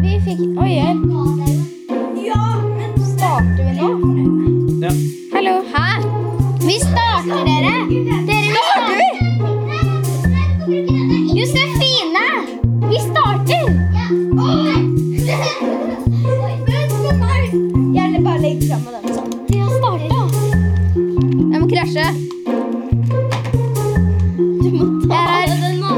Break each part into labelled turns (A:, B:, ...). A: fikk Oi, her. Starter vi nå?
B: Ja.
A: Hallo.
C: Hæ?
A: Vi starter, dere. Dere, vi starter. Josefine, vi starter. Gjerne bare legg fram med den sånn. De har starta.
C: Jeg må krasje.
A: Du må ta
C: Jeg er-
A: den nå.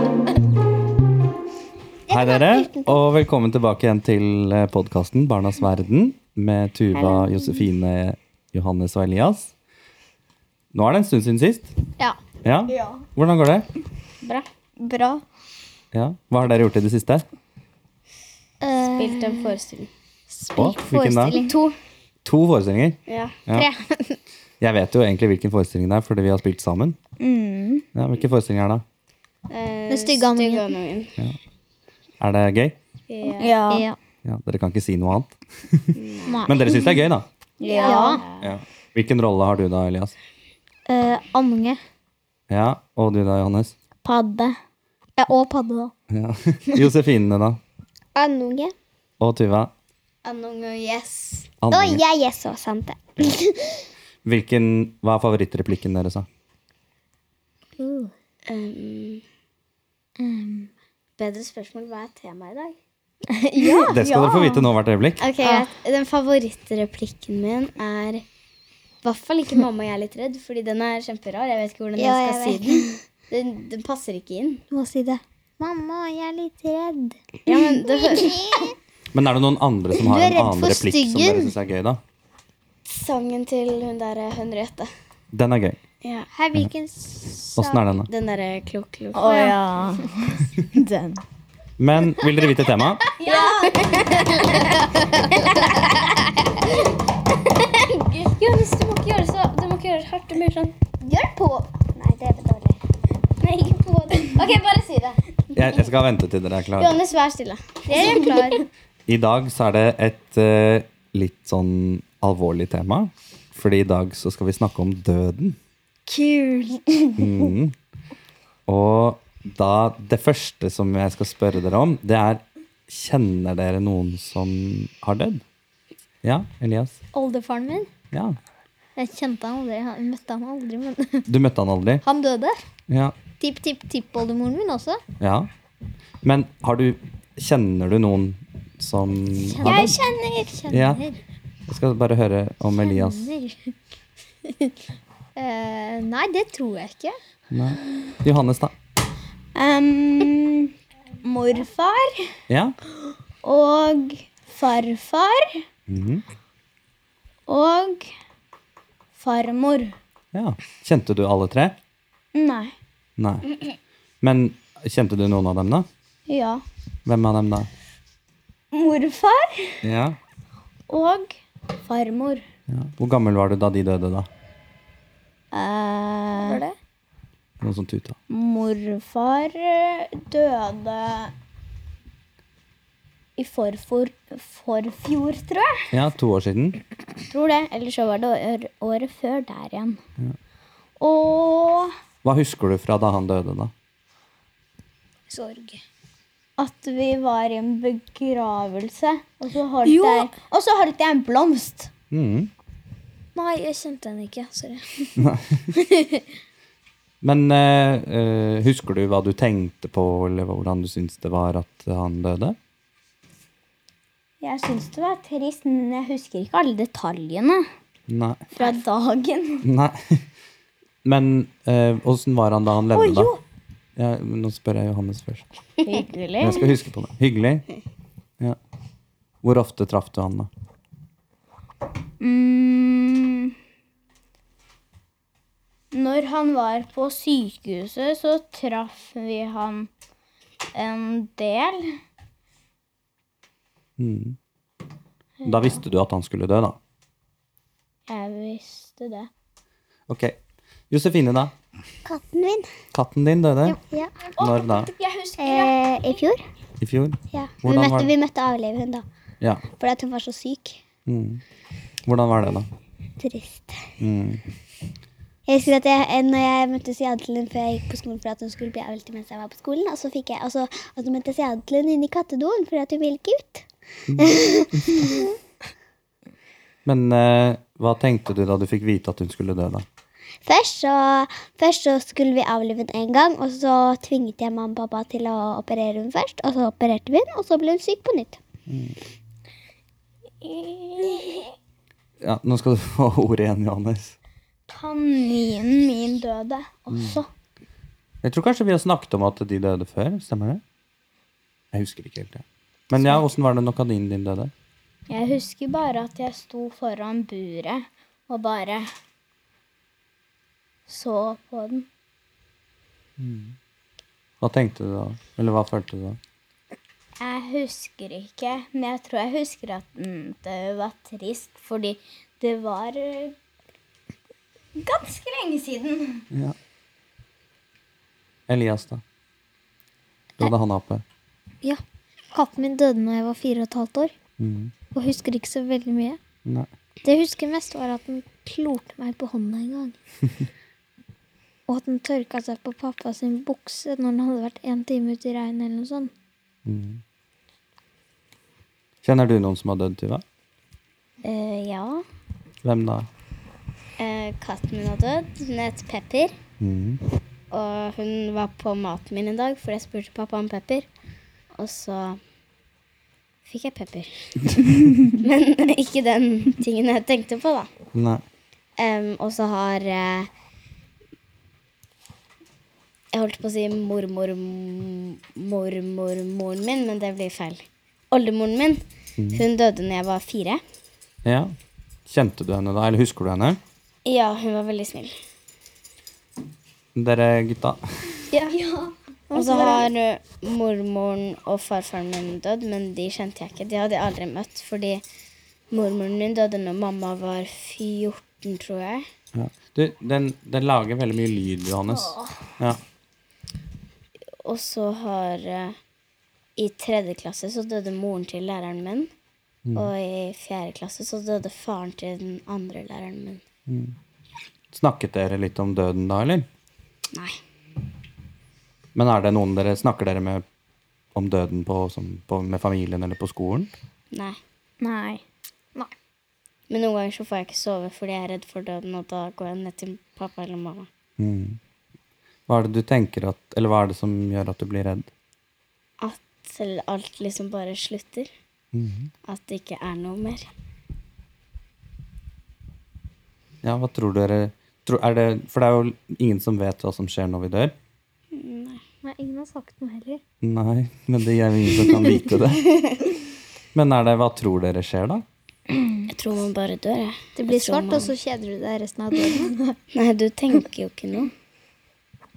B: Hei, dere, og velkommen tilbake igjen til podkasten Barnas verden med Tuva, Josefine, Johannes og Elias. Nå er det en stund siden sist.
C: Ja.
B: Ja?
A: Ja.
B: Hvordan går det?
C: Bra.
A: Bra.
B: Ja. Hva har dere gjort i det siste?
C: Spilt en forestilling.
B: Å, hvilken da?
C: Forestilling to.
B: To forestillinger.
C: Ja.
B: Ja.
C: Tre.
B: Jeg vet jo egentlig hvilken forestilling det er, fordi vi har spilt sammen.
C: Mm.
B: Ja, hvilke forestillinger er det?
C: Den
A: stygge andungen.
C: andungen.
B: Er det gøy?
C: Ja.
A: Ja.
B: Ja, dere kan ikke si noe annet.
A: Nei.
B: Men dere syns det er gøy, da?
A: Ja.
B: Ja. Hvilken rolle har du da, Elias?
A: Eh, Andunge.
B: Ja, Og du da, Johannes?
A: Padde. Ja, og padde, da.
B: Ja. Josefine, da?
A: Andunge.
B: Og Tuva?
C: Andunge, yes.
B: Anne.
A: Og jeg er så sant det.
B: Hvilken, hva er favorittreplikken deres, da?
C: Bedre spørsmål. Hva er temaet i dag?
B: det skal dere få vite nå hvert øyeblikk.
C: Ok, greit. Den favorittreplikken min er I hvert fall ikke mamma og jeg er litt redd, fordi den er kjemperar. Jeg vet ikke hvordan
A: Ja,
C: jeg skal
A: jeg vet.
C: si den. den. Den passer ikke inn.
A: Du må si det. Mamma, jeg er litt redd.
C: Ja, men det hø-
B: Men er det noen andre som har
A: Du er
B: en
A: redd
B: annen
A: for
B: replikk som
A: styggen.
B: dere syns er gøy, da?
C: Sangen til hun der eh, Henriette.
B: Den er gøy.
C: Ja.
A: Hei, hvilken sang?
B: Åssen er den, da?
C: Den eh, derre klok-klok.
D: Å ja. Den.
B: Men vil dere vite temaet?
C: Johannes, du må ikke gjøre det så Du må ikke gjøre det hardt. Du må gjøre sånn.
A: Gjør på! Nei, det er dårlig.
C: Nei, ikke på det. Ok, bare si det.
B: Jeg, jeg skal vente til dere er klare.
C: Johannes, vær stille. Jeg er klar.
B: I dag så er det et eh, litt sånn alvorlig tema. Fordi i dag så skal vi snakke om døden.
C: Kult.
B: Mhm. Og da Det første som jeg skal spørre dere om, det er Kjenner dere noen som har dødd? Ja, Elias?
A: Oldefaren min.
B: Ja.
A: Jeg kjente han aldri. Han møtte han aldri, men
B: Du møtte han aldri?
A: han døde.
B: Ja.
A: Tipp-tipp-tippoldemoren min også.
B: ja. Men har du Kjenner du noen som har
A: Jeg
B: dødd?
A: kjenner. Kjenner.
B: Ja. Jeg skal bare høre om Elias.
A: Eh, nei, det tror jeg ikke.
B: Nei. Johannes, da?
D: Um, morfar
B: Ja?
D: og farfar
B: Mhm.
D: og farmor.
B: Ja. Kjente du alle tre?
D: Nei.
B: Nei. Men kjente du noen av dem, da?
D: Ja.
B: Hvem av dem, da?
D: Morfar
B: Ja.
D: og farmor.
B: ja. Hvor gammel var du da de døde, da?
D: Eh,
B: Noen som tuta.
D: morfar døde i forfor, forfjor, tror jeg.
B: Ja, to år siden.
D: Tror det. Eller så var det år, året før der igjen. Og
B: Hva husker du fra da han døde, da?
A: Sorg.
D: at vi var i en begravelse, og så holdt, jeg, og så holdt jeg en blomst.
B: Mhm.
A: Nei, jeg kjente henne ikke. Sorry.
B: Men eh, eh, husker du hva du tenkte på, eller hvordan du syntes det var at han døde?
D: Jeg syns det var trist, men jeg husker ikke alle detaljene
B: Nei.
D: fra dagen.
B: Nei. Men eh, åssen var han da han levde, da?
D: jo.
B: Ja, men nå spør jeg Johannes først.
D: Hyggelig.
B: Jeg skal huske på det. Hyggelig. Ja. Hvor ofte traff du han, da?
D: Mm. Når han var på sykehuset, så traff vi han en del.
B: Mm. Da visste du at han skulle dø, da.
D: Jeg visste det.
B: Ok. Josefine, da.
A: Katten min.
B: Katten din døde.
A: Ja.
B: Når da?
D: Jeg husker
A: Eh, I fjor.
B: I fjor?
A: Ja. Vi
B: Hvordan var
A: møtte,
B: det?
A: vi møtte avleve hun da.
B: Ja.
A: Fordi at hun var så syk.
B: Mm. Hvordan var det, da?
A: Trist.
B: Mm.
A: Jeg husker at jeg, eh, når jeg møtte Siadelen før jeg gikk på skolen, for at hun skulle altså, bli avlet mens jeg var på skolen, og så, fikk jeg, og så, og så møtte jeg Siadelen inne i kattedoen fordi at hun ville ikke ut.
B: Men eh, hva tenkte du da du fikk vite at hun skulle dø, da?
A: Først så, først så skulle vi avlive den en gang, og så tvinget jeg mamma og pappa til å operere hun først. Og så opererte vi den, og så ble hun syk på nytt.
B: Ja, nå skal du få ordet igjen, Johannes.
D: Kaninen min døde også.
A: Mm.
B: Jeg tror kanskje vi har snakket om at de døde før, stemmer det? Jeg husker ikke helt det. Men ja, åssen var det når kaninen din døde?
D: Jeg husker bare at jeg sto foran buret og bare så på den.
B: Hva tenkte du da? Eller hva følte du da?
D: Jeg husker ikke, men jeg tror jeg husker at den det var trist, fordi det var eh, ganske lenge siden.
B: Ja. Elias, da? Du hadde han oppe.
E: Ja. Katten min døde da jeg var fire og et halvt år,
B: Mm.
E: og husker ikke så veldig mye.
B: Nei.
E: Det jeg husker mest, var at den klorte meg på hånda en gang. og at den tørka seg på pappa sin bukse når den hadde vært en time ute i regnet eller noe sånt.
B: Mm. Kjenner du noen som har dødd, Tuva?
C: Eh, ja.
B: Hvem da?
C: Eh, katten min har dødd. Hun het Pepper.
B: Mm.
C: Og hun var på maten min en dag, for jeg spurte pappa om pepper. Og så fikk jeg pepper. Men ikke den tingen jeg tenkte på, da.
B: Nei.
C: Em, og så har eh, Jeg holdt på å si mormor mormormoren min, men det blir feil. Oldemoren min.
D: Mm.
C: Hun døde når jeg var fire.
B: Ja. Kjente du henne da? Eller husker du henne?
C: Ja, hun var veldig snill.
B: Dere gutta?
C: Og så har eh, mormoren og farfaren min dødd, men de kjente jeg ikke. De hadde jeg aldri møtt, fordi mormoren min døde når mamma var 14, tror jeg.
B: Ja. Du, den, den lager veldig mye lyd, Johannes. Ja.
C: Og så har eh, I tredje klasse så døde moren til læreren min. Og i fjerde klasse så døde faren til den andre læreren min.
B: Snakket dere litt om døden da, eller?
C: Nei.
B: Men er det noen dere snakker dere med om døden på, som, på, med familien eller på skolen?
C: Nei.
D: Nei.
C: Men noen ganger så får jeg ikke sove fordi jeg er redd for døden, og da går jeg ned til pappa eller mamma.
B: Hva er det du tenker at, eller hva er det som gjør at du blir redd?
C: At alt liksom bare slutter. At det ikke er noe mer.
B: Ja, hva tror dere tror, er det, For det er jo ingen som vet hva som skjer når vi dør.
E: Nei, ingen har sagt noe heller.
B: Nei, men det er jo ingen som kan vite det. Men er det, hva tror dere skjer, da?
C: Jeg tror man bare dør, jeg.
E: Det blir
C: Jeg tror
E: svart,
C: man-
E: og så kjeder du deg resten av døgnet.
C: Nei, du tenker jo ikke noe.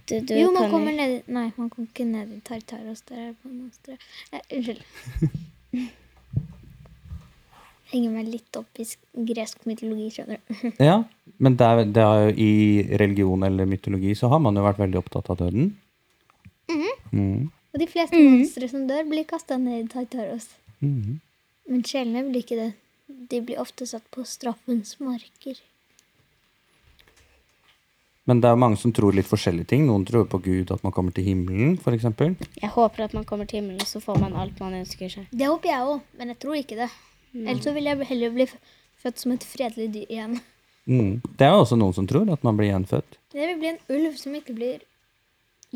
C: Du, du
E: Jo, man
C: kan
E: kommer ned Nei, man kommer ikke ned i Tartaros. Der er det på monsteret. Eh, Unnskyld. Henger meg litt opp i sk- gresk mytologi, skjønner du.
B: Ja, men det er, det er jo I religion eller mytologi så har man jo vært veldig opptatt av døden. Mm.
E: Og de fleste monstre som dør, blir kasta ned i Tartaros.
B: Mhm.
E: Men sjelene blir ikke det. De blir ofte satt på straffens marker.
B: Men det er jo mange som tror litt forskjellige ting. Noen tror på Gud, at man kommer til himmelen, f.eks.
C: Jeg håper at man kommer til himmelen, så får man alt man ønsker seg.
E: Det håper jeg òg, men jeg tror ikke det.
A: Mm.
E: Ellers så vil jeg heller bli f- født som et fredelig dyr igjen.
B: Mm. Det er jo også noen som tror at man blir gjenfødt.
E: Jeg vil bli en ulv som ikke blir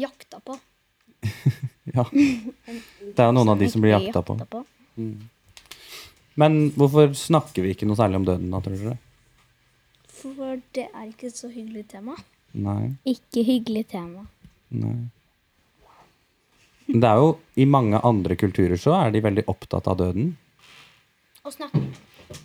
E: jakta på.
B: Ja. Det er jo noen av de som blir jakta på. Men hvorfor snakker vi ikke noe særlig om døden, da, tror dere?
E: For det er ikke et så hyggelig tema.
B: Nei.
D: Ikke hyggelig tema.
B: Nei. Men Det er jo, I mange andre kulturer så er de veldig opptatt av døden.
E: Å snakke.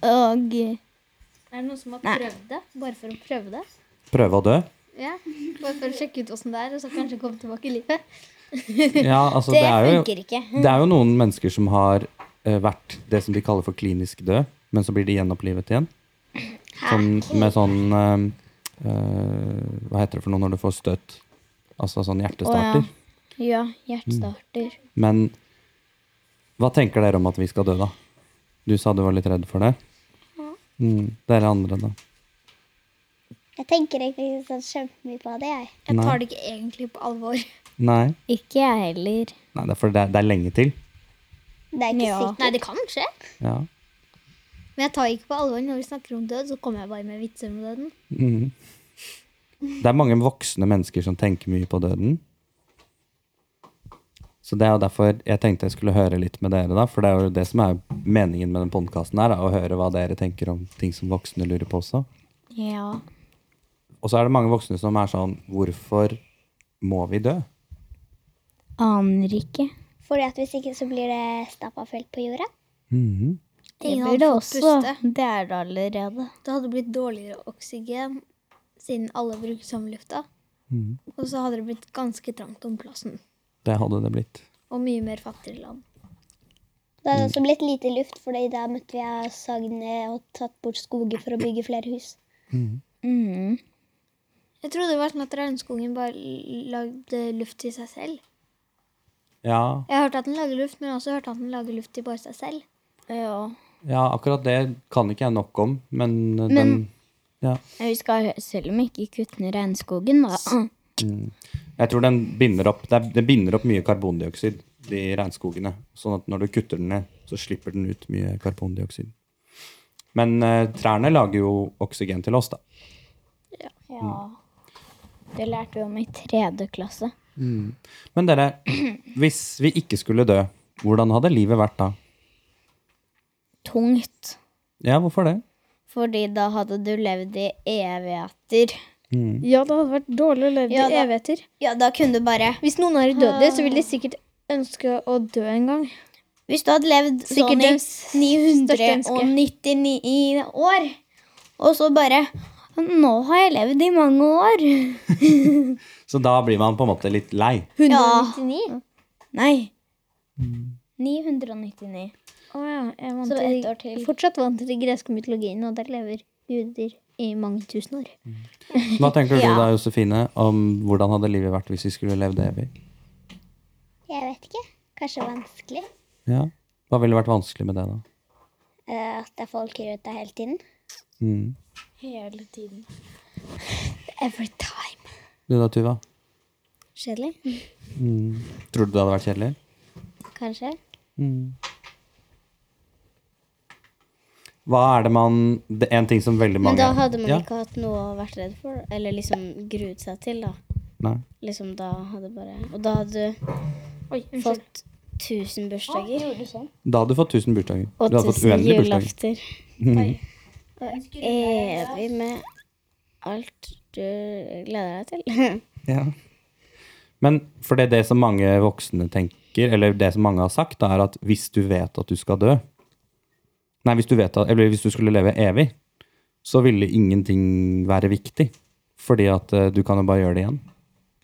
D: Og
E: Er det noen som har prøvd det? Bare for å prøve det?
B: Prøve å dø.
E: Ja, Bare for å sjekke ut åssen det er, og så kanskje komme tilbake i livet?
B: Ja, altså, det, er jo,
C: funker ikke.
B: det er jo noen mennesker som har eh, vært det som de kaller for klinisk død, men så blir de gjenopplivet igjen.
E: Ah,
B: Sånn, med sånn eh, eh, Hva heter det for noe når du får støt? Altså sånn hjertestarter.
D: ja,
B: Mm.
D: hjertestarter.
B: Men hva tenker dere om at vi skal dø, da? Du sa du var litt redd for det. Mm, dere andre, da?
A: Jeg tenker egentlig sånn kjempemye på det, jeg.
E: Jeg
B: Nei.
E: tar det ikke egentlig på alvor.
B: Nei?
D: Ikke jeg heller.
B: Nei, det er fordi det er, det er lenge til.
A: Det er ikke
C: Ja.
A: sikkert.
E: Nei, det kan skje.
B: Ja.
E: Men jeg tar ikke på alvor når vi snakker om død, så kommer jeg bare med vitser om døden.
B: Mhm. Det er mange voksne mennesker som tenker mye på døden. Så det er jo derfor jeg tenkte jeg skulle høre litt med dere, da. For det er jo det som er meningen med den podkasten her, er å høre hva dere tenker om ting som voksne lurer på også.
D: Ja.
B: Og så er det mange voksne som er sånn Hvorfor må vi dø?
D: Aner ikke.
A: Fordi at hvis ikke så blir det stappa fullt på jorda.
B: Mhm.
E: Ingen
D: burde
E: hadde fått
D: også.
E: puste.
D: Det er det allerede.
E: Det hadde blitt dårligere oksygen siden alle bruker sommerlufta.
B: Mhm.
E: Og så hadde det blitt ganske trangt om plassen.
B: Det hadde det blitt.
E: Og mye mer fattigere land.
A: Det hadde også blitt lite luft, for da måtte vi ha sagd ned og tatt bort skoger for å bygge flere hus.
D: Mm.
E: Jeg trodde det var sånn at regnskogen bare l- lagde luft til seg selv.
B: Ja,
E: Jeg hørte at den lager luft, men jeg har også hørte at den lager luft til bare seg selv.
C: Ja.
B: ja, akkurat det kan ikke jeg nok om, men, den ja.
D: Jeg husker selv om jeg ikke kutter regnskogen, da.
B: Jeg tror den binder opp, det er- den binder opp mye karbondioksid, de regnskogene. Sånn at når du kutter den ned, så slipper den ut mye karbondioksid. Men eh, trærne lager jo oksygen til oss, da.
D: Ja. Mm. Det lærte vi om i tredje klasse.
B: Men dere, hvis vi ikke skulle dø, hvordan hadde livet vært da?
D: Tungt.
B: Ja, hvorfor det?
D: Fordi da hadde du levd i evigheter.
B: Mm.
C: Ja, det hadde vært dårlig å leve
D: Ja,
C: i
D: da-
C: evigheter.
D: Ja, da kunne du bare Ah.
C: Hvis noen er udødelige, så vil de sikkert ønske å dø en gang.
D: Hvis du hadde levd
C: Sikkert det
D: sånn i 999 år, og så bare Nå har jeg levd i mange år.
B: Så da blir man på en måte litt lei.
E: 199?
D: Nei. 999.
E: Å ja. Jeg vant
D: Så
E: til,
D: ett år til.
E: Fortsatt vant til den greske mytologien, og der lever guder i mange tusen år.
B: Hva tenker du
D: Ja.
B: da, Josefine, om hvordan hadde livet vært hvis vi skulle levd evig?
A: Jeg vet ikke. Kanskje vanskelig.
B: Ja. Hva ville vært vanskelig med det, da?
A: eh, At det er folk rundt deg hele tiden.
B: Mm.
D: Hele tiden.
E: Every time.
B: Du da, Tuva?
E: Kjedelig?
B: Tror du det hadde vært kjedelig?
E: Kanskje.
B: Mm. Hva er det man det er En ting som veldig
C: Men
B: mange
C: da hadde man
B: ja?
C: ikke hatt noe å vært redd for, eller liksom gruet seg til, da.
B: Nei.
C: Liksom da hadde bare Og da hadde
E: Oi,
C: du
E: unnskyld.
C: fått 1000 bursdager.
B: Da hadde du fått 1000 bursdager.
C: Og
B: Du hadde fått
C: 1000
B: uendelige bursdager.
C: julafter. Og evig med alt du gleder deg til.
B: Ja. Men for det, det som mange voksne tenker, eller det som mange har sagt, da, er at hvis du vet at du skal dø Nei, hvis du, vet at, eller hvis du skulle leve evig, så ville ingenting være viktig. Fordi at eh, du kan jo bare gjøre det igjen.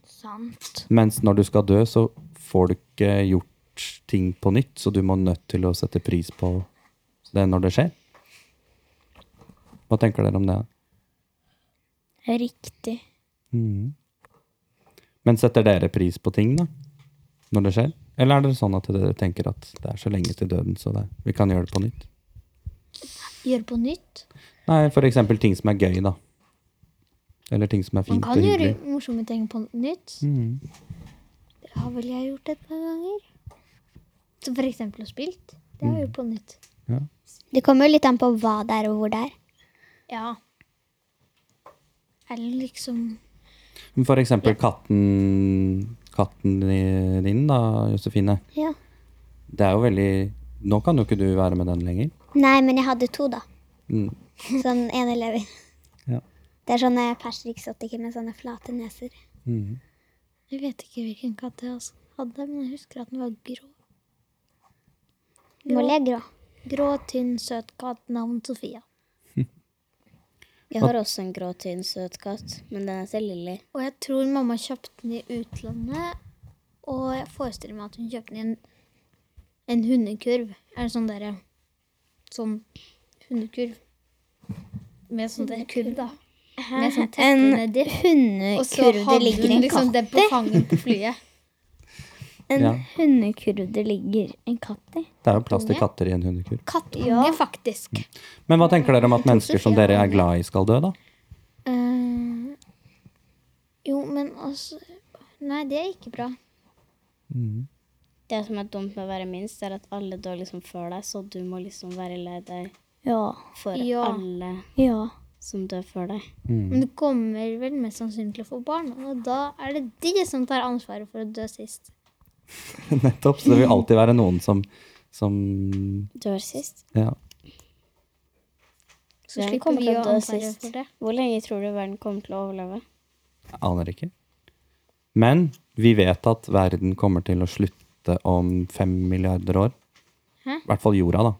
D: Sant.
B: Mens når du skal dø, så får du ikke gjort ting på nytt, så du må nødt til å sette pris på det når det skjer. Hva tenker dere om det?
D: Riktig.
B: Mm. Men setter dere pris på ting, da? Når det skjer? Eller er det sånn at dere tenker at det er så lenge til døden, så det, vi kan gjøre det på nytt?
E: Gjøre på nytt.
B: Nei, for eksempel ting som er gøy, da. Eller ting som er
E: Man
B: fint og
E: kan gjøre
B: hyggelig. Mm,
E: morsomme ting på nytt. Det har vel jeg gjort et par ganger. Som for eksempel å spilt. Det har jeg gjort på nytt.
B: Ja.
A: Det kommer jo litt an på hva det er, og hvor det er.
E: Ja. Eller liksom
B: Men For eksempel katten, katten i- din, da, Josefine.
A: Ja.
B: Det er jo veldig Nå kan jo ikke du være med den lenger.
A: Nei, men jeg hadde to, da.
B: Mm.
A: Sånn ene lever.
B: Ja.
A: Det er sånne persriksotiker med sånne flate neser.
E: Mm.
B: Mhm.
E: Jeg vet ikke hvilken katt jeg altså hadde, men jeg husker at den var grå.
A: Molly er grå.
E: Grå, tynn, søt katt. Navn Sofia.
C: Jeg har også en grå, tynn, søt katt, men den heter Lilly.
E: Og jeg tror mamma kjøpte den i utlandet. Og jeg forestiller meg at hun kjøpte den i en, en hundekurv. Eller sånn derre Sånn hundekurv. Med sånn der kurv, da. Med sånn teppe
D: En
E: nedi. Og så
D: hundekurv det
E: hadde
D: ligger
E: hun
D: en katt
E: liksom den på fanget på flyet.
D: En
B: Ja.
D: hundekurv det ligger en katt i.
B: Det er jo plass til katter i en hundekurv.
E: Kattunge, faktisk.
B: Men hva tenker dere om at mennesker som dere er glad i, skal dø, da?
E: Eh, jo, men altså Nei, det er ikke bra.
C: Det som er dumt med å være minst, er at alle dør liksom før deg, så du må liksom være lei deg
D: Ja.
C: for
E: Ja.
C: alle
D: Ja.
C: som dør før deg.
E: Men du kommer vel mest sannsynlig til å få barn, og da er det de som tar ansvaret for å dø sist.
B: Nettopp. Så det vil alltid være noen som, som
C: Dør sist.
B: Ja.
E: Så
C: Verden
E: slipper
C: kommer
E: vi
C: til
E: å
C: å dø
E: ansvare
C: sist.
E: for det.
C: Hvor lenge tror du verden kommer til å overleve?
B: Jeg aner ikke. Men vi vet at verden kommer til å slutte om fem milliarder år. I hvert fall jorda, da.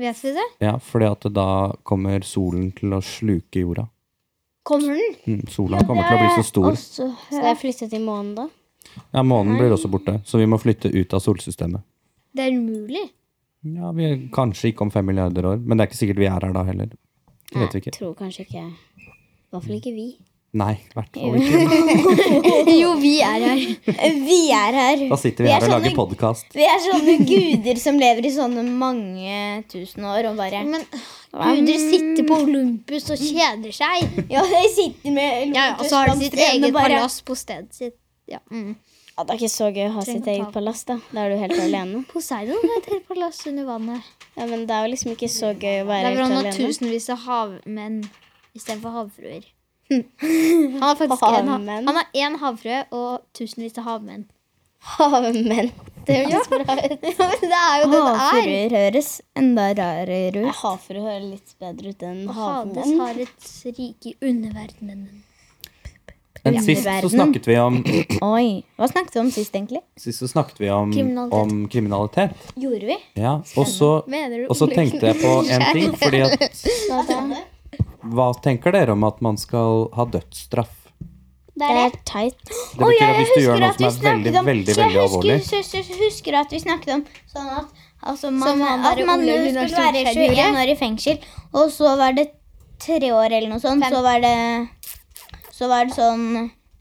E: Vet vi det?
B: Ja, fordi at da kommer solen til å sluke jorda.
E: Kommer den?
B: Mm, Sola kommer til å bli så stor.
D: Også
C: Skal jeg flytte til månen, da?
B: Ja, Månen blir også borte, så vi må flytte ut av solsystemet.
E: Det er umulig.
B: Ja, vi er Kanskje ikke om fem milliarder år, men det er ikke sikkert vi er her da heller. Det vet vi ikke.
C: Tror kanskje ikke I hvert fall ikke vi.
B: Nei, i hvert fall ikke.
E: jo, vi er her.
D: Eh, Vi er her.
B: Da sitter vi
D: Vi er
B: her og
D: sånne-
B: lager podkast.
D: Vi er sånne guder som lever i sånne mange tusen år og bare
E: Men guder sitter på Olympus og kjeder seg.
D: Ja, de sitter med
E: Ja, Og så har de sitt eget
D: bare-
E: palass på stedet sitt. Ja. Mm.
C: Ja, det er ikke så gøy å ha sitt
E: å
C: eget
E: ta-
C: palass, da. Da er du helt alene.
E: Poseidon har et helt palass under vannet.
C: Ja, Men det er jo liksom ikke så gøy å være
E: Der hvor
C: helt
E: han har
C: alene.
E: tusenvis av havmenn istedenfor havfruer. Han har faktisk en, ha-
C: Havmenn?
E: han har én havfrue og tusenvis av havmenn.
C: Havmenn. Det høres bra ut.
E: Ja, men det er jo det det er.
D: Havfruer høres enda rarere ut.
C: Havfrue hører litt bedre ut enn
E: Og Hades
C: havmenn.
E: har et rike i underverdenen.
B: Men sist så snakket vi om,
D: Oi. Hva snakket vi om sist, egentlig?
B: sist så snakket vi om,
E: Kriminalitet.
B: om kriminalitet.
D: Gjorde vi?
B: Ja, og så
E: Mener du
B: Og så tenkte jeg på en ting, fordi at Hva tenker dere om at man skal ha dødsstraff?
D: Det
C: Det
D: er
C: er teit.
B: Det betyr at hvis du gjør noe som er veldig, veldig veldig alvorlig
D: Jeg husker, husker, husker at vi snakket om sånn at altså man,
E: Som han
D: at
E: der
D: man
E: Ole Gunnar
D: skulle være
E: Solskjær
D: 21 år i fengsel, og så var det tre år eller noe sånt. Så var det så var det sånn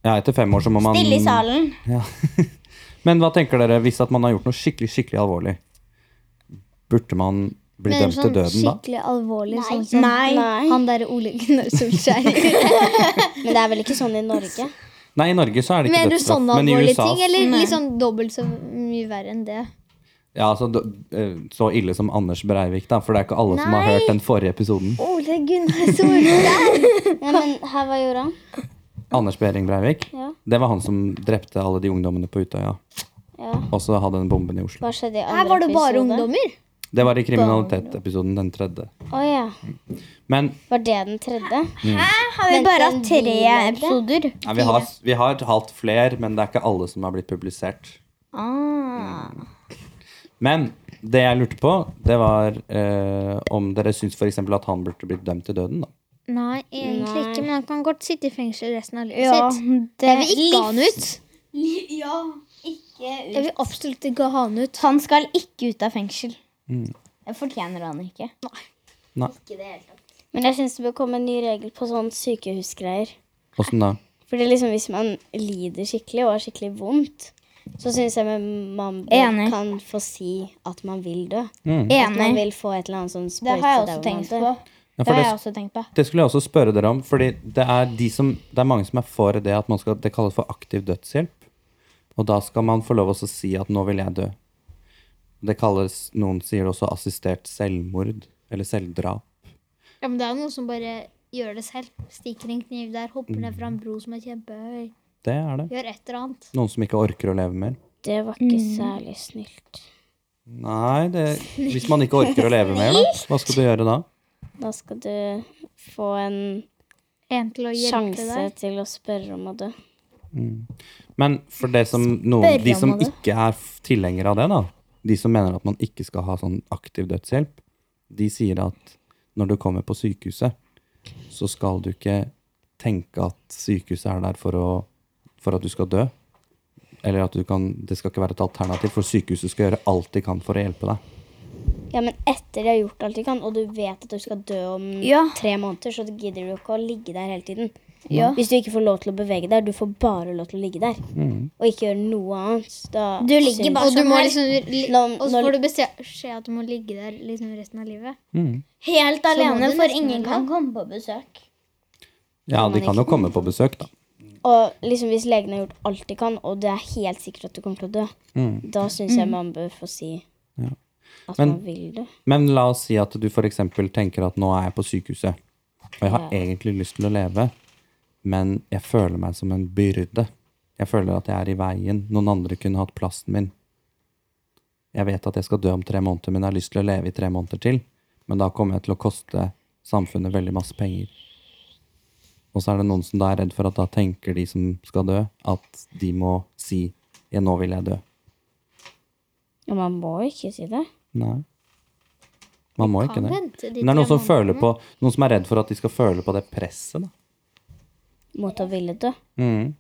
B: Ja, etter fem år så må man
D: Stille i salen.
B: Ja. Men hva tenker dere hvis at man har gjort noe skikkelig, skikkelig alvorlig? Burde man bli
E: Mener du
B: dømt til
E: sånn
B: døden da?
E: skikkelig alvorlig? Sånn som
D: Nei.
E: han der Ole Gunnar Solskjær.
C: Men det er vel ikke sånn i Norge?
B: Nei, i Norge så er det ikke
E: Mener du
B: dødsstraff.
E: sånne
B: Men i
E: alvorlige
B: USA
E: ting, eller liksom dobbelt så mye verre enn det?
B: ja, altså, d- eh, Så ille som Anders Breivik, da. For det er ikke alle som har hørt den forrige episoden.
E: Ole Gunnar Solskjær!
C: Nei, men her var jorda.
B: Anders Behring Breivik.
C: Ja.
B: Det var han som drepte alle de ungdommene på Utøya.
C: Ja.
B: Og så hadde den bomben i Oslo.
C: Hva skjedde i andre
E: Her var det bare
C: episode?
E: ungdommer.
B: Det var i kriminalitetepisoden, den tredje.
C: Å ja.
B: Men
C: Var det den tredje?
D: Har vi bare hatt tre episoder?
B: ja, vi, har, vi har hatt fler, men det er ikke alle som har blitt publisert. Men det jeg lurte på, det var eh, om dere syns f.eks. at han burde blitt dømt til døden, da.
E: Nei, egentlig ikke, men han kan godt sitte i fengsel resten av livet
D: Ja,
E: sitt.
D: det
E: Jeg vil ikke ha han ut.
D: Ja, ikke
E: Jeg vil absolutt ikke ha han ut.
D: Han skal ikke ut av fengsel.
B: Mm.
D: Det fortjener han ikke.
B: Nei.
C: Men jeg syns det bør komme en ny regel på sånn sykehusgreier.
B: Åssen da?
C: Fordi liksom hvis man lider skikkelig og har skikkelig vondt, så syns jeg men man bør-
D: Enig.
C: kan få si at man vil dø. At man
D: Enig.
C: vil få et eller annet sånn
D: Det har jeg
C: sprøyte der
D: også
C: hvor man
D: tenkt
C: dør.
D: på.
B: Mm. Ja,
D: Det
B: for
D: har
B: det,
D: jeg også tenkt på.
B: det skulle jeg også spørre dere om, fordi det er, de som, det er mange som er for det at man skal Det kalles for aktiv dødshjelp. Og da skal man få lov å si at 'nå vil jeg dø'. Det kalles, Noen sier også assistert selvmord eller selvdrap.
E: Ja, men det er jo noen som bare gjør det selv. Stikker en kniv der, hopper ned fra en bro som er kjempehøy.
B: Det er det.
E: Gjør et eller annet.
B: Noen som ikke orker å leve mer.
C: Det var ikke særlig snilt.
B: Nei, det, hvis man ikke orker å leve mer, da, hva skal du gjøre da?
C: Da skal du få en
E: En til å hjelpe
C: sjanse
E: deg.
C: til å spørre om å dø.
B: Men for det som noen,
C: Spørre
B: de
C: om
B: som
C: det.
B: ikke er f- tilhengere av det, da, de som mener at man ikke skal ha sånn aktiv dødshjelp, de sier at når du kommer på sykehuset, så skal du ikke tenke at sykehuset er der for, å, for at du skal dø. Eller at du kan, det skal ikke være et alternativ, for sykehuset skal gjøre alt de kan for å hjelpe deg.
C: Ja, men etter de har gjort alt de kan, og du vet at du skal dø om
D: Ja.
C: tre måneder, så gidder du ikke å ligge der hele tiden. Hvis du ikke får lov til å bevege deg, du får bare lov til å ligge der. Og ikke gjøre noe annet. Da
D: Du ligger
C: syns-
D: bare
E: Og, du
D: sånn
E: må
D: her.
E: liksom, li,
C: Nå-
E: og så
C: nå-
E: får du beskjed at du må ligge der liksom resten av livet.
D: Helt
E: må
D: alene,
E: du
D: for
E: nesten
D: ingen
E: dø.
D: kan komme på besøk.
B: Ja, de kan jo komme på besøk, da.
C: Og liksom hvis legen har gjort alt de kan, og det er helt sikkert at du kommer til å dø,
B: Mm.
C: da syns jeg man bør få si
B: Ja.
C: at
B: Men-
C: man vil det.
B: Men la oss si at du f.eks. tenker at nå er jeg på sykehuset, og jeg har
C: Ja.
B: egentlig lyst til å leve, men jeg føler meg som en byrde. Jeg føler at jeg er i veien. Noen andre kunne hatt plassen min. Jeg vet at jeg skal dø om tre måneder, men jeg har lyst til å leve i tre måneder til. Men da kommer jeg til å koste samfunnet veldig masse penger. Og så er det noen som da er redd for at da tenker de som skal dø, at de må si ja, 'nå vil jeg dø'.
C: Og man må ikke si det.
B: Nei. Man må ikke
E: Kan
B: det.
E: vente de
B: Men det er noen
E: tre
B: som, føler på, noen som er redd for at de skal føle på det presset, da.
C: Mot å ville dø.
B: Mm.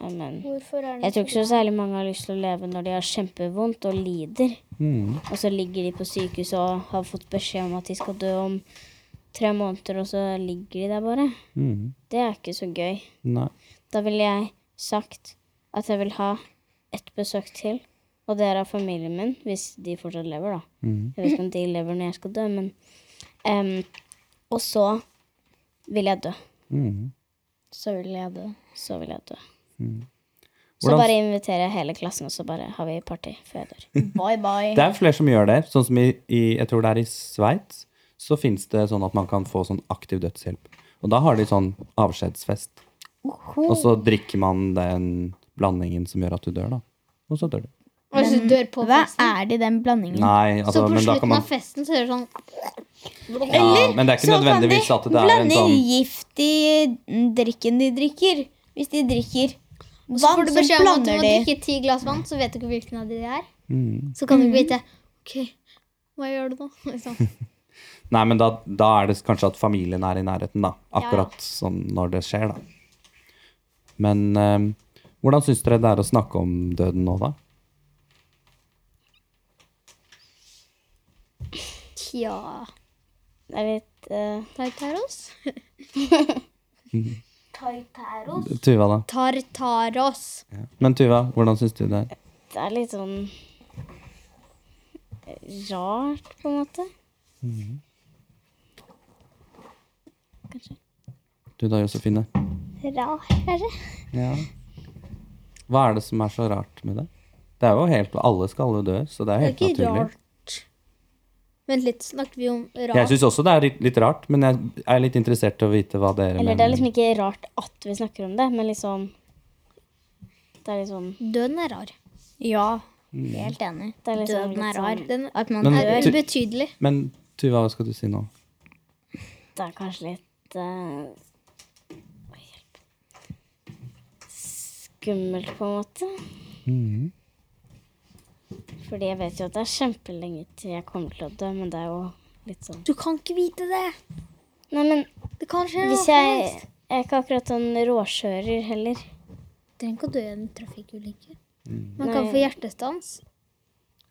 C: Ja, Men
D: Hvorfor er
C: jeg tror ikke så særlig mange har lyst til å leve når de har kjempevondt og lider.
B: Mm.
C: Og så ligger de på sykehuset og har fått beskjed om at de skal dø om tre måneder, og så ligger de der bare.
B: Mm.
C: Det er ikke så gøy.
B: Nei.
C: Da ville jeg sagt at jeg vil ha ett besøk til, og det er av familien min, hvis de fortsatt lever, da.
B: Mhm.
C: Jeg vet ikke om de lever når jeg skal dø, men em, Og så vil jeg dø.
B: Mm.
C: Så vil jeg dø. Så vil jeg dø. Så
B: Hvordan-
C: bare inviterer jeg hele klassen, og så bare har vi party før jeg dør.
D: Bye, bye.
B: Det er flere som gjør det. Sånn som i, i jeg tror det er i Sveits, så fins det sånn at man kan få sånn aktiv dødshjelp. Og da har de sånn avskjedsfest. Og så drikker man den blandingen som gjør at du dør, da. Og så dør du.
E: Og hvis du dør på
D: Hva
E: festen,
D: er det i den blandingen?
B: Nei, altså,
E: Mm. så på
B: men da
E: slutten
B: kan man
E: av festen så er det sånn
B: ja, Men det er ikke nødvendigvis at det er en
D: blande
B: sånn
D: gift i drikken de drikker. Hvis de drikker vann,
E: Så får du
D: så
E: beskjed om at du må
D: blander de.
E: drikke ti glass vann, så vet du ikke hvilken av de det er.
B: mm.
E: Så kan du ikke vite OK, hva gjør du nå? Liksom.
B: Nei, men da, da er det kanskje at familien er i nærheten, da. Akkurat sånn når det skjer, da. Men eh, hvordan syns dere det er å snakke om døden nå, da?
E: Tja
C: Det er litt eh,
E: Tartaros?
B: Tuva, da?
E: Tartaros.
B: Men Tuva, hvordan syns du det er?
C: Det er litt sånn rart, på en måte.
B: Du da, Josefine?
A: Rart, kanskje?
B: Ja. Hva er det som er så rart med det? Det er jo helt, Alle skal jo dø, så det er helt
E: ikke
B: naturlig.
E: Vent litt, snakker vi om
B: Jeg
E: rart?
B: syns også det er litt, litt rart, men jeg er litt interessert i å vite hva dere
C: Eller det er
B: mener.
C: liksom ikke rart at vi snakker om det, men liksom Det er liksom
E: Døden er rar.
D: Ja, helt enig.
C: Det er litt sånn-
D: Mm. Døden er rar.
E: Den
D: At man
B: Men-
E: er
B: Du-
E: ubetydelig.
B: Men Tuva, hva skal du si nå?
C: Det er kanskje litt eh, oi, hjelp. Skummelt, på en måte. Fordi jeg vet jo at det er kjempelenge til jeg kommer til å dø, men det er jo litt sånn
E: Du kan ikke vite det!
C: Nei, men
E: Det kan skje
C: hvis jeg Jeg er ikke akkurat sånn råkjører heller.
E: Trenger ikke å dø i en trafikkulykke.
B: Mm.
E: Man kan
C: Nei.
E: få hjertestans.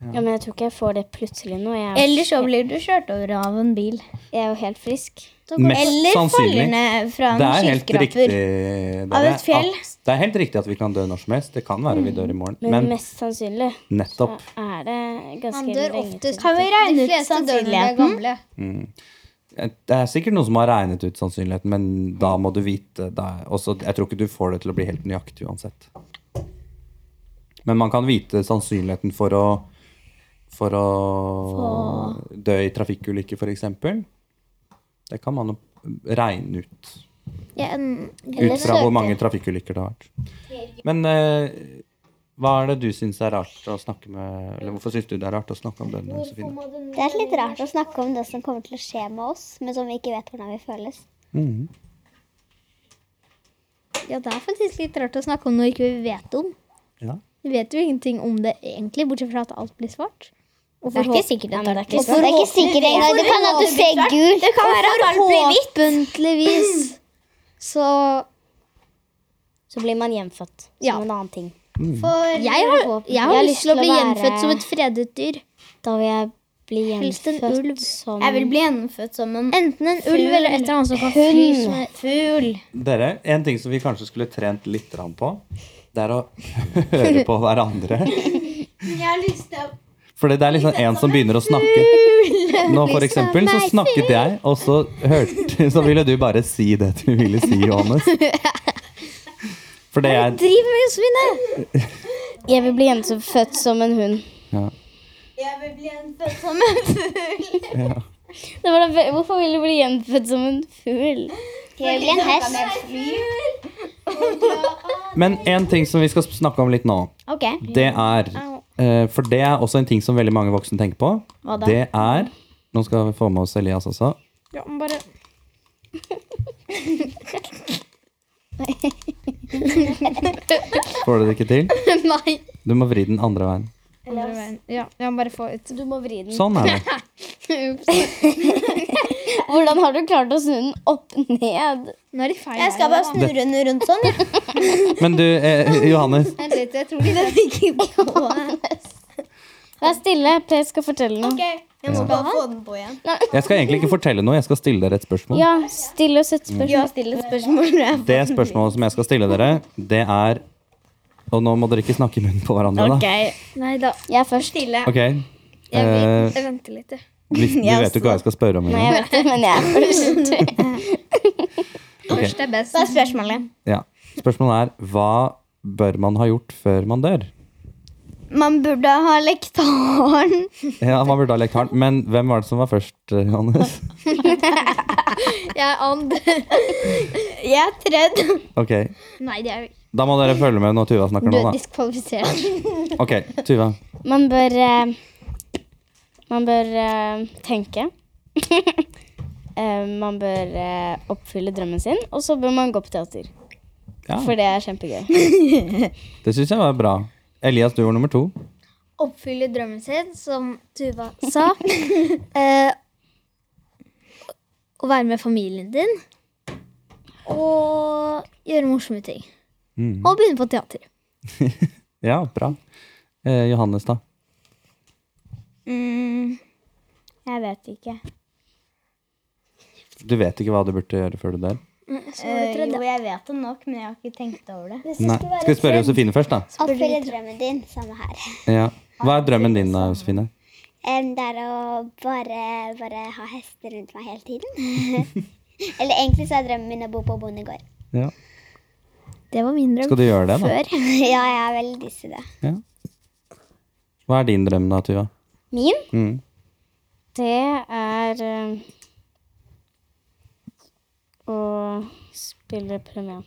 C: Ja, Men jeg tror ikke jeg får det plutselig nå. Jeg er,
D: Eller så blir du kjørt over av en bil.
C: jeg er jo helt frisk.
B: Mest
D: Eller faller
B: sannsynlig.
D: ned fra
B: Det er
D: en
B: helt riktig
D: skyskraper.
B: dere,
D: et fjell.
B: At, det er helt riktig at vi kan dø når som helst. Det kan være vi dør i morgen.
C: Men,
B: Men
C: mest sannsynlig
B: nettopp.
C: er det ganske
E: Man
C: lenge
E: dør
C: til.
E: oftest
D: Kan vi regne
E: De
D: ut
E: fleste dør når de
D: sannsynligheten?
E: er gamle.
B: eh, Det er sikkert noen som har regnet ut sannsynligheten, men da må du vite det. er- Også, jeg tror ikke du får det til å bli helt nøyaktig uansett. Men man kan vite sannsynligheten for å, for å dø i trafikkulykker, f.eks. Det kan man jo regne ut. Ut fra hvor mange trafikkulykker det har vært. Men eh, hva er det du syns er rart å snakke med Eller hvorfor syns du det er rart å snakke om døden, Josefine?
A: Det er litt rart å snakke om det som kommer til å skje med oss, men som vi ikke vet hvordan vi føles.
B: Mhm.
E: Ja, det er faktisk litt rart å snakke om noe ikke vi ikke vet om.
B: Ja.
E: Vi vet jo ingenting om det egentlig, bortsett fra at alt blir svart. Og
C: Det er ikke
E: forhåp-
C: sikkert at det er
A: Det er ikke sikkert engang. Det kan at du ser gult.
D: Det kan være at alt blir hvitt.
E: forhåpentligvis så
C: Så blir man gjenfødt
E: Ja.
C: som en annen ting.
E: jeg har, jeg har lyst til å bli
C: være-
E: gjenfødt som et fredet dyr.
C: Da vil jeg bli
E: Helst en ulv.
C: gjenfødt som
D: Jeg vil bli gjenfødt som en
E: Enten en ulv eller et eller annet som kan fly. som en-
D: fugl.
B: Dere, en ting som vi kanskje skulle trent litt grann på, det er å høre på hverandre.
D: Jeg har lyst til å
B: For det er liksom en som begynner å snakke. Nå for
D: Liksom,
B: eksempel så snakket jeg, og så hørte Så ville du bare si det du ville si, Johannes. For det jeg
E: Driv med svinet!
C: Jeg vil bli jente født som en hund.
B: ja,
D: Jeg vil bli en født som en fugl.
B: ja.
C: Det var da, ve- hvorfor vil du bli gjenfødt som en fugl?
A: Jeg blir en hest.
B: Men en ting som vi skal snakke om litt nå,
C: Ok.
B: det er eh, For det er også en ting som veldig mange voksne tenker på.
C: Hva da?
B: Det er Nå skal vi få med oss Elias også.
E: Ja, men bare
B: Får du det ikke til?
E: Nei.
B: Du må vri den andre veien.
E: Andre veien. Ja, jeg må bare få ut
C: Du må vri den.
B: Sånn er det.
E: Ups.
C: Hvordan har du klart å snu den opp ned?
E: Nå er de feil.
D: Jeg skal bare snu den rundt sånn. jeg.
B: Men du, eh, Johannes,
E: Vent litt, jeg tror de
C: Vær stille. Per skal fortelle noe.
D: Jeg må bare få den på igjen.
B: jeg skal egentlig ikke fortelle noe. Jeg skal stille dere et spørsmål.
C: Ja, stille oss et spørsmål. Ja, stille spørsmål.
B: Det spørsmålet som jeg skal stille dere, det er Og nå må dere ikke snakke i munnen på hverandre,
C: Ok.
B: da.
E: Nei da.
C: Jeg er først. Stille.
B: Ok.
E: Jeg,
B: Eh,
E: vet, jeg venter litt, jeg.
B: hvis, du vet jo ikke hva jeg skal spørre om.
C: Nei, jeg
B: Engang.
C: vet det, men jeg er først.
B: Ok.
E: Først er best. Hva er spørsmålet?
B: Ja. Spørsmålet er hva bør man ha gjort før man dør?
D: Man burde ha lektaren.
B: Ja, man burde ha lekt hardt, men hvem var det som var først, eh, Johannes?
E: Jeg er and.
D: Jeg er tredd.
B: Ok,
E: Nei, det er jo
B: Da må dere følge med når Tuva snakker
E: Du
B: nå,
E: er
B: da.
E: diskvalifisert.
B: Ok, Tuva.
C: Man bør eh, Man bør eh, tenke. Eh, man bør eh, oppfylle drømmen sin, og så bør man gå på teater.
B: Ja,
C: For det er kjempegøy.
B: det syns jeg var bra. Elias, du var nummer to.
E: Oppfylle drømmen sin, som Tuva sa. eh, å være med familien din. Og gjøre morsomme ting.
B: Mm.
E: Og begynne på teater.
B: Ja, bra. Eh, Johannes, da.
C: Jeg vet ikke.
B: Du vet ikke hva du burde gjøre før du dør?
D: Eh, jo, jeg vet det nok, men jeg har ikke tenkt over det.
B: Nei. Skal vi spørre Josefine først, da?
A: Oppfylle drømmen din. Samme her.
B: Ja. Hva er drømmen din, da, Josefine?
A: Em, det er å bare, bare ha hester rundt meg hele tiden. Eller egentlig så er drømmen min å bo på bondegård.
B: Ja.
E: Det var min drøm.
B: Skal du gjøre det, da?
A: ja, jeg er veldig disse, da.
B: Ja. Hva er din drøm, da, Tuva?
C: Min?
B: Mm.
C: Det er eh, å spille premie.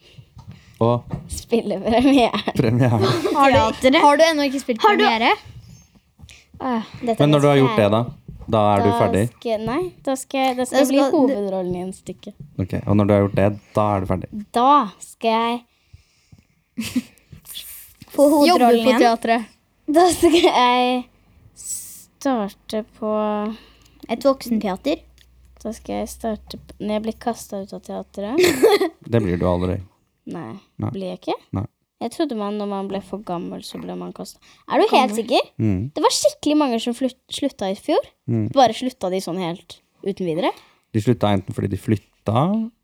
B: Og
C: Spille premiere.
B: premiere.
E: Har du, har du ennå ikke spilt premiere?
B: Men når du har gjort det, da? Da er du ferdig?
C: Skal, nei, da skal, jeg- da skal jeg bli hovedrollen i en stykke.
B: Ok, Og når du har gjort det, da er du ferdig?
C: Da skal jeg
D: På
E: Jobbe
D: hovedrollen
E: på
D: igjen.
E: teatret.
C: Da skal jeg starte på
D: Et voksenteater.
C: Da skal jeg starte på Når jeg blir kasta ut av teatret?
B: Det blir du aldri.
C: Nei.
B: Nei.
C: Blir jeg ikke?
B: Nei.
C: Jeg trodde man når man ble for gammel, så ble man kasta. Er du helt sikker?
B: Mm.
C: Det var skikkelig mange som flut- slutta i fjor.
B: Mm.
C: Bare slutta de sånn helt uten videre.
B: De slutta enten fordi de flytta,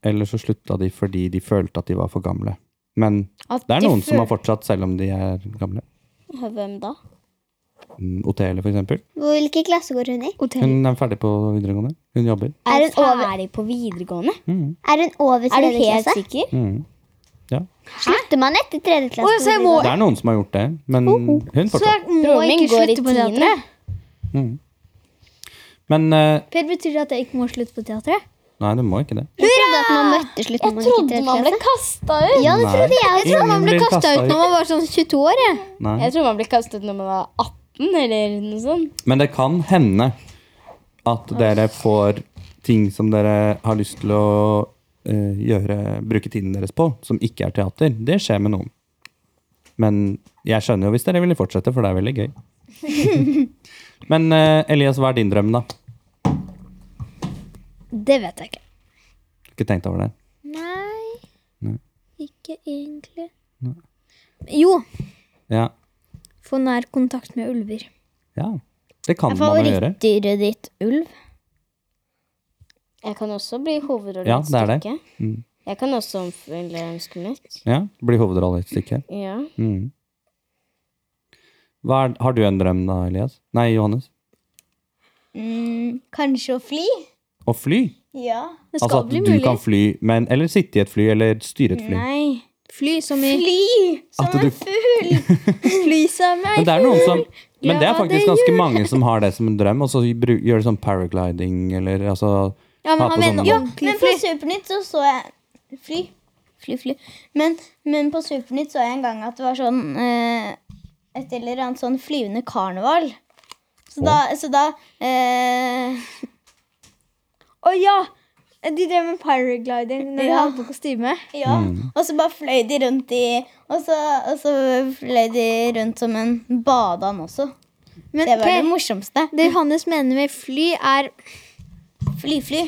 B: eller så slutta de fordi de følte at de var for gamle. Men
C: At
B: det er
C: de
B: noen som
C: føl-
B: har fortsatt selv om de er gamle.
C: Hvem da?
B: Mm, Otele, for eksempel.
A: Hvilken klasse går hun i?
B: Hun er ferdig på videregående. Hun jobber.
C: Er
A: hun
C: hun ferdig på videregående?
B: Mm.
A: Er hun over
C: Er du
A: tredje
C: helt
A: klasse?
C: sikker?
B: Mm.
A: Slutter man etter tredje klasse?
E: Å, ja, så jeg
A: på
E: må-
A: videregående?
B: Det er noen som har gjort det, men hun
E: Så
B: fortsatt.
E: jeg må
C: Broren min
E: ikke
C: går i
E: slutte på
C: tiende.
E: teatret.
B: Mm. Men eh,
E: Per, betyr det at jeg ikke må slutte på teatret?
B: Nei, du må ikke det.
A: Jeg trodde at man møtte slutt når
C: Jeg
A: man gikk i
C: trodde
A: tredje
C: man ble
A: klasse.
C: kasta ut.
A: Ja, det
B: Nei.
A: trodde jeg også.
B: Ingen
E: Man ble
B: blir
E: kasta
B: kastet
E: ut når man var sånn 22 år. Jeg.
B: Nei.
C: Jeg tror man blir kasta ut når man var 18 eller noe sånt.
B: Men det kan hende at dere får ting som dere har lyst til å eh, gjøre, bruke tiden deres på, som ikke er teater. Det skjer med noen. Men jeg skjønner jo hvis dere ville fortsette, for det er veldig gøy. Men eh, Elias, hva er din drøm, da?
E: Det vet jeg ikke.
B: Ikke tenkt over det?
E: Nei,
B: Nei.
E: ikke egentlig. Jo,
B: Ja.
E: få nær kontakt med ulver.
B: ja. Det kan man jo gjøre.
C: ditt ulv? Jeg kan også bli hovedrollen i
B: Ja,
C: et
B: det er det.
C: stykke.
B: Mm.
C: Jeg kan også omfylle ønsket mitt.
B: Ja, Bli hovedrolle i et stykke.
C: Ja.
B: Mm. Hva er, har du en drøm, da, Elias? Nei, Johannes?
D: Mm, kanskje å fly?
B: Å fly?
D: Ja.
E: Det skal
B: Altså at
E: bli
B: du
E: mulig.
B: kan fly, men, eller sitte i et fly, eller styre et fly.
C: Nei.
E: Fly som i
D: Fly
B: At
D: som
B: du-
D: en fugl!
E: Fly som
B: Men det er noen som Men det er
E: Glade
B: faktisk ganske mange som har det som en drøm, og så bru- gjør de sånn paragliding eller altså
E: Ja, men
B: ha
E: han
B: på
E: mener
B: sånne-
E: ordentlig
D: Men på
E: fly.
D: Supernytt så så jeg Fly. Fly, fly. Men, men på Supernytt så jeg en gang at det var sånn eh, Et eller annet sånn flyvende karneval. Så da, så da eh,
E: Å ja! De drev med paragliding når de
D: Ja.
E: hadde på kostyme.
D: Ja. Og så bare fløy de rundt i Og så, og så fløy de rundt som en badeand også.
E: Men
D: Det var
E: Per,
D: det morsomste.
E: det Johannes mener med fly, er
D: Fly-fly.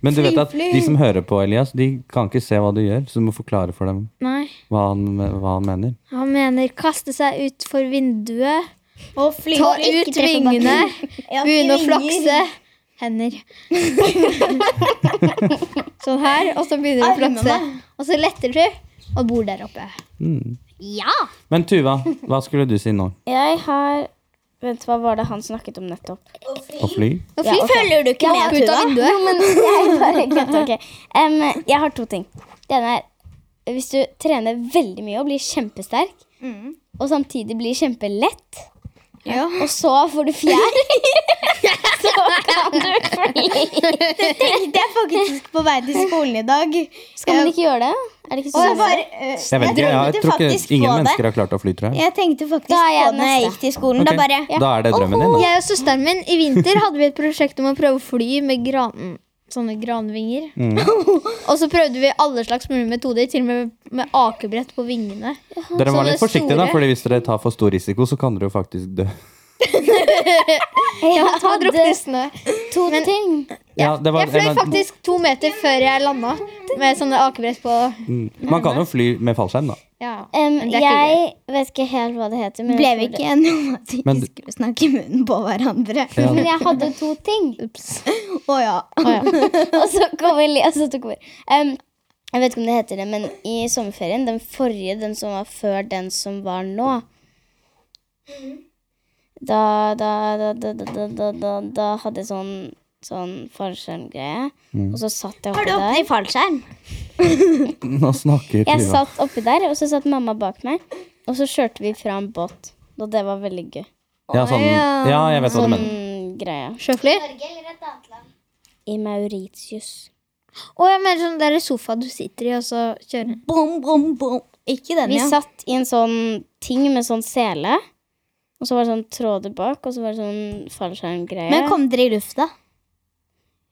B: Men du vet at de som hører på Elias, de kan ikke se hva du gjør, så du må forklare for dem
E: Nei.
B: hå han, hva han mener.
E: Han mener kaste seg utfor vinduet,
D: Og fly,
E: ta
D: fly.
E: ut vingene,
D: Ja,
E: begynne å
D: vinger.
E: flakse. Hender. sånn her, og så begynner du å flakse.
D: Armene.
E: Og så letter du, og bor der oppe.
B: Men Tuva, hva skulle du si nå?
C: Jeg har Vent, hva var det han snakket om nettopp?
B: Å fly?
E: Og fly
D: Følger du ikke med,
E: hoppe ut av
D: Tuva?
E: vinduet.
C: Jeg bare glemte, ok. Em, jeg har to ting. Det ene er hvis du trener veldig mye og blir kjempesterk, og samtidig blir kjempelett, og så får du fjær, så kan du fly.
D: Tenkte jeg faktisk på vei til skolen i dag.
C: Skal man ikke gjøre det? Er det ikke sånn så
D: Og jeg bare eh,
B: Jeg vet ikke, jeg, jeg tror ikke ingen mennesker har klart å fly, tror jeg.
D: Jeg tenkte faktisk
C: Da er jeg
D: på det når jeg
C: neste.
D: gikk til skolen.
B: Ok,
D: Da bare
B: Da er det drømmen din, da.
E: Jeg og søsteren min i vinter hadde vi et prosjekt om å prøve å fly med gran, sånne granvinger.
B: Mm.
E: Og så prøvde vi alle slags mulige metoder, til og med med akebrett på vingene.
B: Dere må være litt
E: Sånne
B: forsiktige, da,
E: store.
B: Fordi hvis dere tar for stor risiko, så kan dere jo faktisk dø.
C: Jeg
E: Ta
C: hadde
E: drukne i snø.
C: to ting.
B: Ja, det var-
E: Jeg fløy
B: men-
E: faktisk to meter før jeg landa med sånne akebrett på.
B: Mm. Man kan jo fly med fallskjerm, da.
E: Ja.
C: Em,
E: Men det er ikke
C: jeg vet ikke helt hva det heter. Men,
D: ble
C: jeg,
D: vi
C: tror det.
D: ikke enige om at vi
B: Men-
D: ikke skulle snakke i munnen på hverandre. Å
B: Ja.
C: men jeg hadde to ting.
D: ja.
C: og så kom Elias og tok over. Em, jeg vet ikke om det heter det, men i sommerferien, den forrige, den som var før den som var nå Da, da, da, da, da, da, da, da, da hadde jeg sånn, sånn fallskjermgreie. Og så satt jeg oppi der.
D: fallskjerm?
B: Nå snakker
C: Jeg
B: Tuva.
C: satt oppi der, og så satt mamma bak meg. Og så kjørte vi fra en båt. Og det var veldig gøy.
B: Ja, sånn, ja, jeg vet hva du
C: Sånn
B: mener.
C: greie.
E: Sjøfly?
C: I Mauritius.
E: Og jeg mener sånn der sofa du sitter i, og så kjører
D: Bom, bom, bom. Ikke den,
C: Vi
D: ja.
C: satt i en sånn ting med sånn sele. Og så var det sånn tråder bak, og så var det sånn fallskjermgreie.
D: Men kom dere i lufta?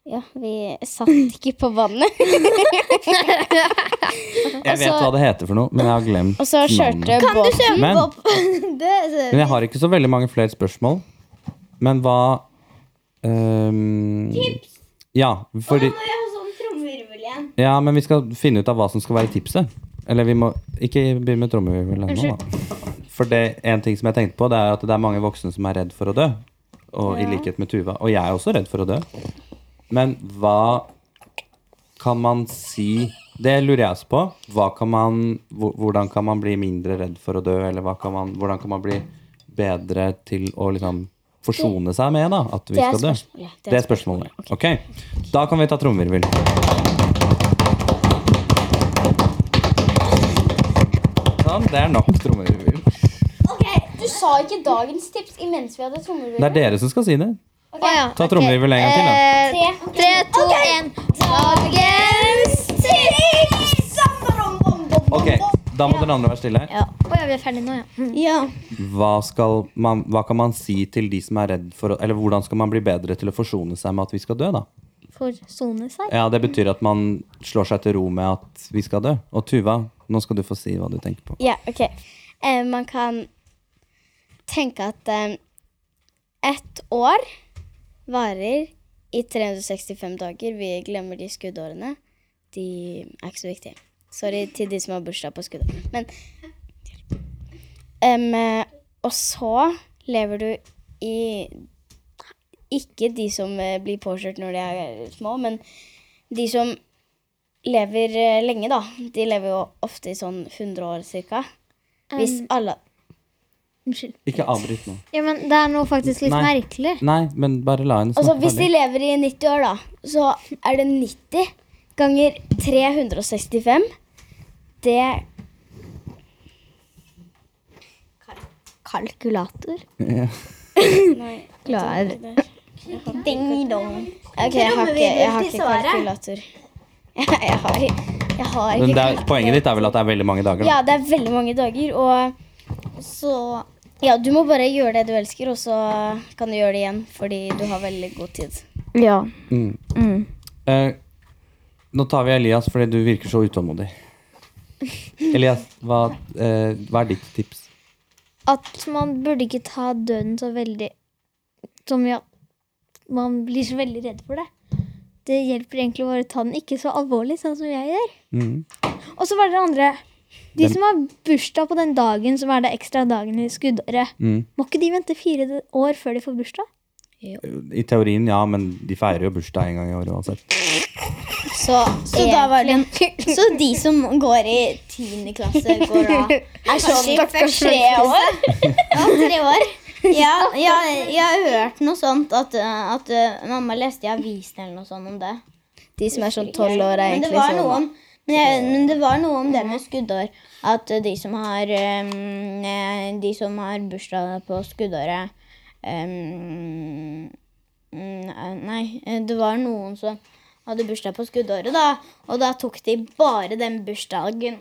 C: Ja, vi satt ikke på vannet.
B: Jeg vet hva det heter for noe, men jeg har glemt
C: Og så kjørte
B: navnet.
D: Kan du
C: båten.
D: søke
B: Men-
D: opp det? så-
B: Men jeg har ikke så veldig mange flere spørsmål. Men hva Tips! Ja, fordi
D: jeg har sånn trommevirvel igjen.
B: Ja, men vi skal finne ut av hva som skal være tipset. Eller vi må ikke begynne med trommevirvel ennå, da. For det, en ting som jeg tenkte på, det er at det er mange voksne som er redd for å dø. Og i likhet med Tuva. Og jeg er også redd for å dø. Men hva kan man si Det lurer jeg også på. Hva kan man, hvor- hvordan kan man bli mindre redd for å dø? Eller hva kan man, hvordan kan man bli bedre til å liksom forsone seg med da, at vi
C: det er
B: skal dø?
C: spørsmålet.
B: Det er spørsmålet. Ok. Da kan vi ta trommevirvel. Sånn, det er nok trommevirvel.
C: Du sa ikke dagens tips imens vi hadde
B: Det er dere som skal si det.
E: Å ja.
B: Ta trommevirvel en gang til, da.
E: Eh, tre, to, én. Dagens
B: Ok, Da må dere andre være stille.
E: Å ja, vi er ferdige nå, ja. Hm,
D: Ja.
B: Hva, skal man, hva kan man si til de som er redd for å Eller hvordan skal man bli bedre til å forsone seg med at vi skal dø, da?
E: Forsone seg.
B: Ja, Det betyr at man slår seg til ro med at vi skal dø. Og Tuva, nå skal du få si hva du tenker på.
C: Ja, ok. Eh, man kan tenke at eh, ett år varer i 365 dager. Vi glemmer de skuddårene. De er ikke så viktige. Sorry til de som har bursdag på skuddet. Men Em, eh, Og så lever du i Ikke de som eh, blir påkjørt når de er små, men de som lever eh, lenge, da. De lever jo ofte i sånn 100 år cirka.
D: Um,
C: Hvis alle
E: Unnskyld.
B: Ikke avbryt nå.
E: Ja, men det er noe faktisk litt
B: Nei.
E: merkelig.
B: Nei, men bare la henne
C: Altså,
B: snakke
C: hvis de
B: ferdig.
C: lever i 90 år, da, så er det 90 ganger 365, det
D: Kalkulator.
B: Ja.
D: Klar. Ding dong.
C: Ok, jeg har ikke, jeg har ikke
D: svaret.
C: kalkulator. Jeg, jeg, har, jeg har ikke
B: Men det er, poenget ditt er vel at det er veldig mange dager? Da.
C: Ja, det er veldig mange dager, og så Ja, du må bare gjøre det du elsker, og så kan du gjøre det igjen, fordi du har veldig god tid.
D: Ja.
B: Mm. Eh, nå tar vi Elias, fordi du virker så utålmodig. Elias, hva, eh, hva er ditt tips?
E: At man burde ikke ta døden så veldig Som ja, man blir så veldig redd for det. Det hjelper egentlig bare å ta den ikke så alvorlig, sånn som jeg gjør.
B: Mm.
E: Og så var det det andre. De
B: Den-
E: som har bursdag på den dagen som er det ekstra dagen i skuddåret,
B: Mm.
E: må ikke de vente fire d- år før de får bursdag?
B: I teorien, ja, men de feirer jo bursdag en gang i året uansett.
C: Så,
D: Så da var det en Så de som går i tiende klasse, går da Er sånn for tre år? Ja, tre år. Ja, ja, jeg har hørt noe sånt at, eh, at eh, mamma leste i avisen eller noe sånt om det.
C: de som er sånn tolv år, er
D: Men det
C: egentlig
D: var
C: sånn
D: noe om men, jeg, men det var noe om det med skuddår. At eh, de som har em, eh, De som har bursdag på skuddåret eh, em, mm, Nei, eh, det var noen som hadde bursdag på skuddåret, da. Og da tok de bare den bursdagen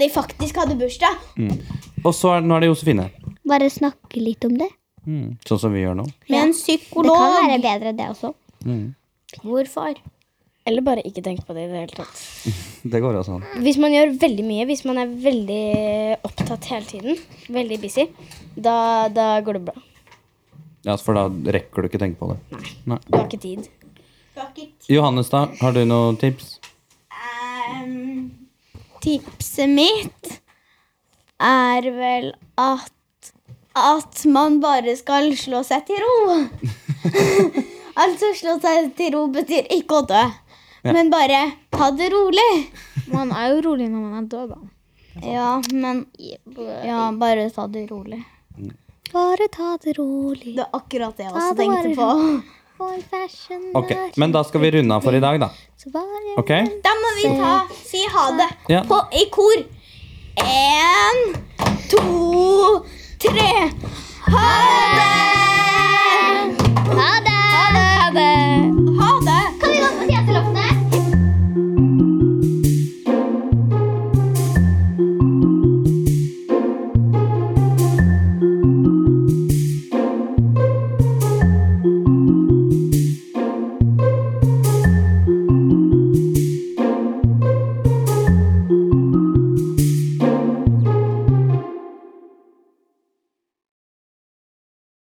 D: de faktisk hadde bursdag.
B: Og så er, nå er det Josefine.
A: Bare snakke litt om det.
B: Mm. Sånn som vi gjør nå.
D: Med en
A: Det kan
D: psykolog.
A: være bedre, det også.
B: Mm.
D: Hvorfor?
C: Eller bare ikke tenk på det i det hele tatt.
B: Det går altså an.
C: Hvis man gjør veldig mye, hvis man er veldig opptatt hele tiden, veldig busy, da, da går det bra.
B: Ja, for da rekker du ikke tenke på det. Nei.
C: Du har ikke tid.
B: Johannes, da? Har du noen tips?
D: Ehm, tipset mitt er vel at at man bare skal slå seg til ro. altså slå seg til ro betyr ikke å dø,
B: Ja.
D: men bare ta det rolig.
E: Man er jo rolig når man er død, da.
D: Ja, men Ja, bare ta det rolig.
A: Bare ta det rolig.
D: Det er akkurat det jeg
A: Ta
D: også
A: det bare
D: tenkte på.
A: All fashion
B: Ok, Men da skal vi runde av for i dag, da.
A: så bare
B: Ok?
D: Da må vi ta si ha det
B: Ja.
D: på, i kor. Én, to, tre. Ha det!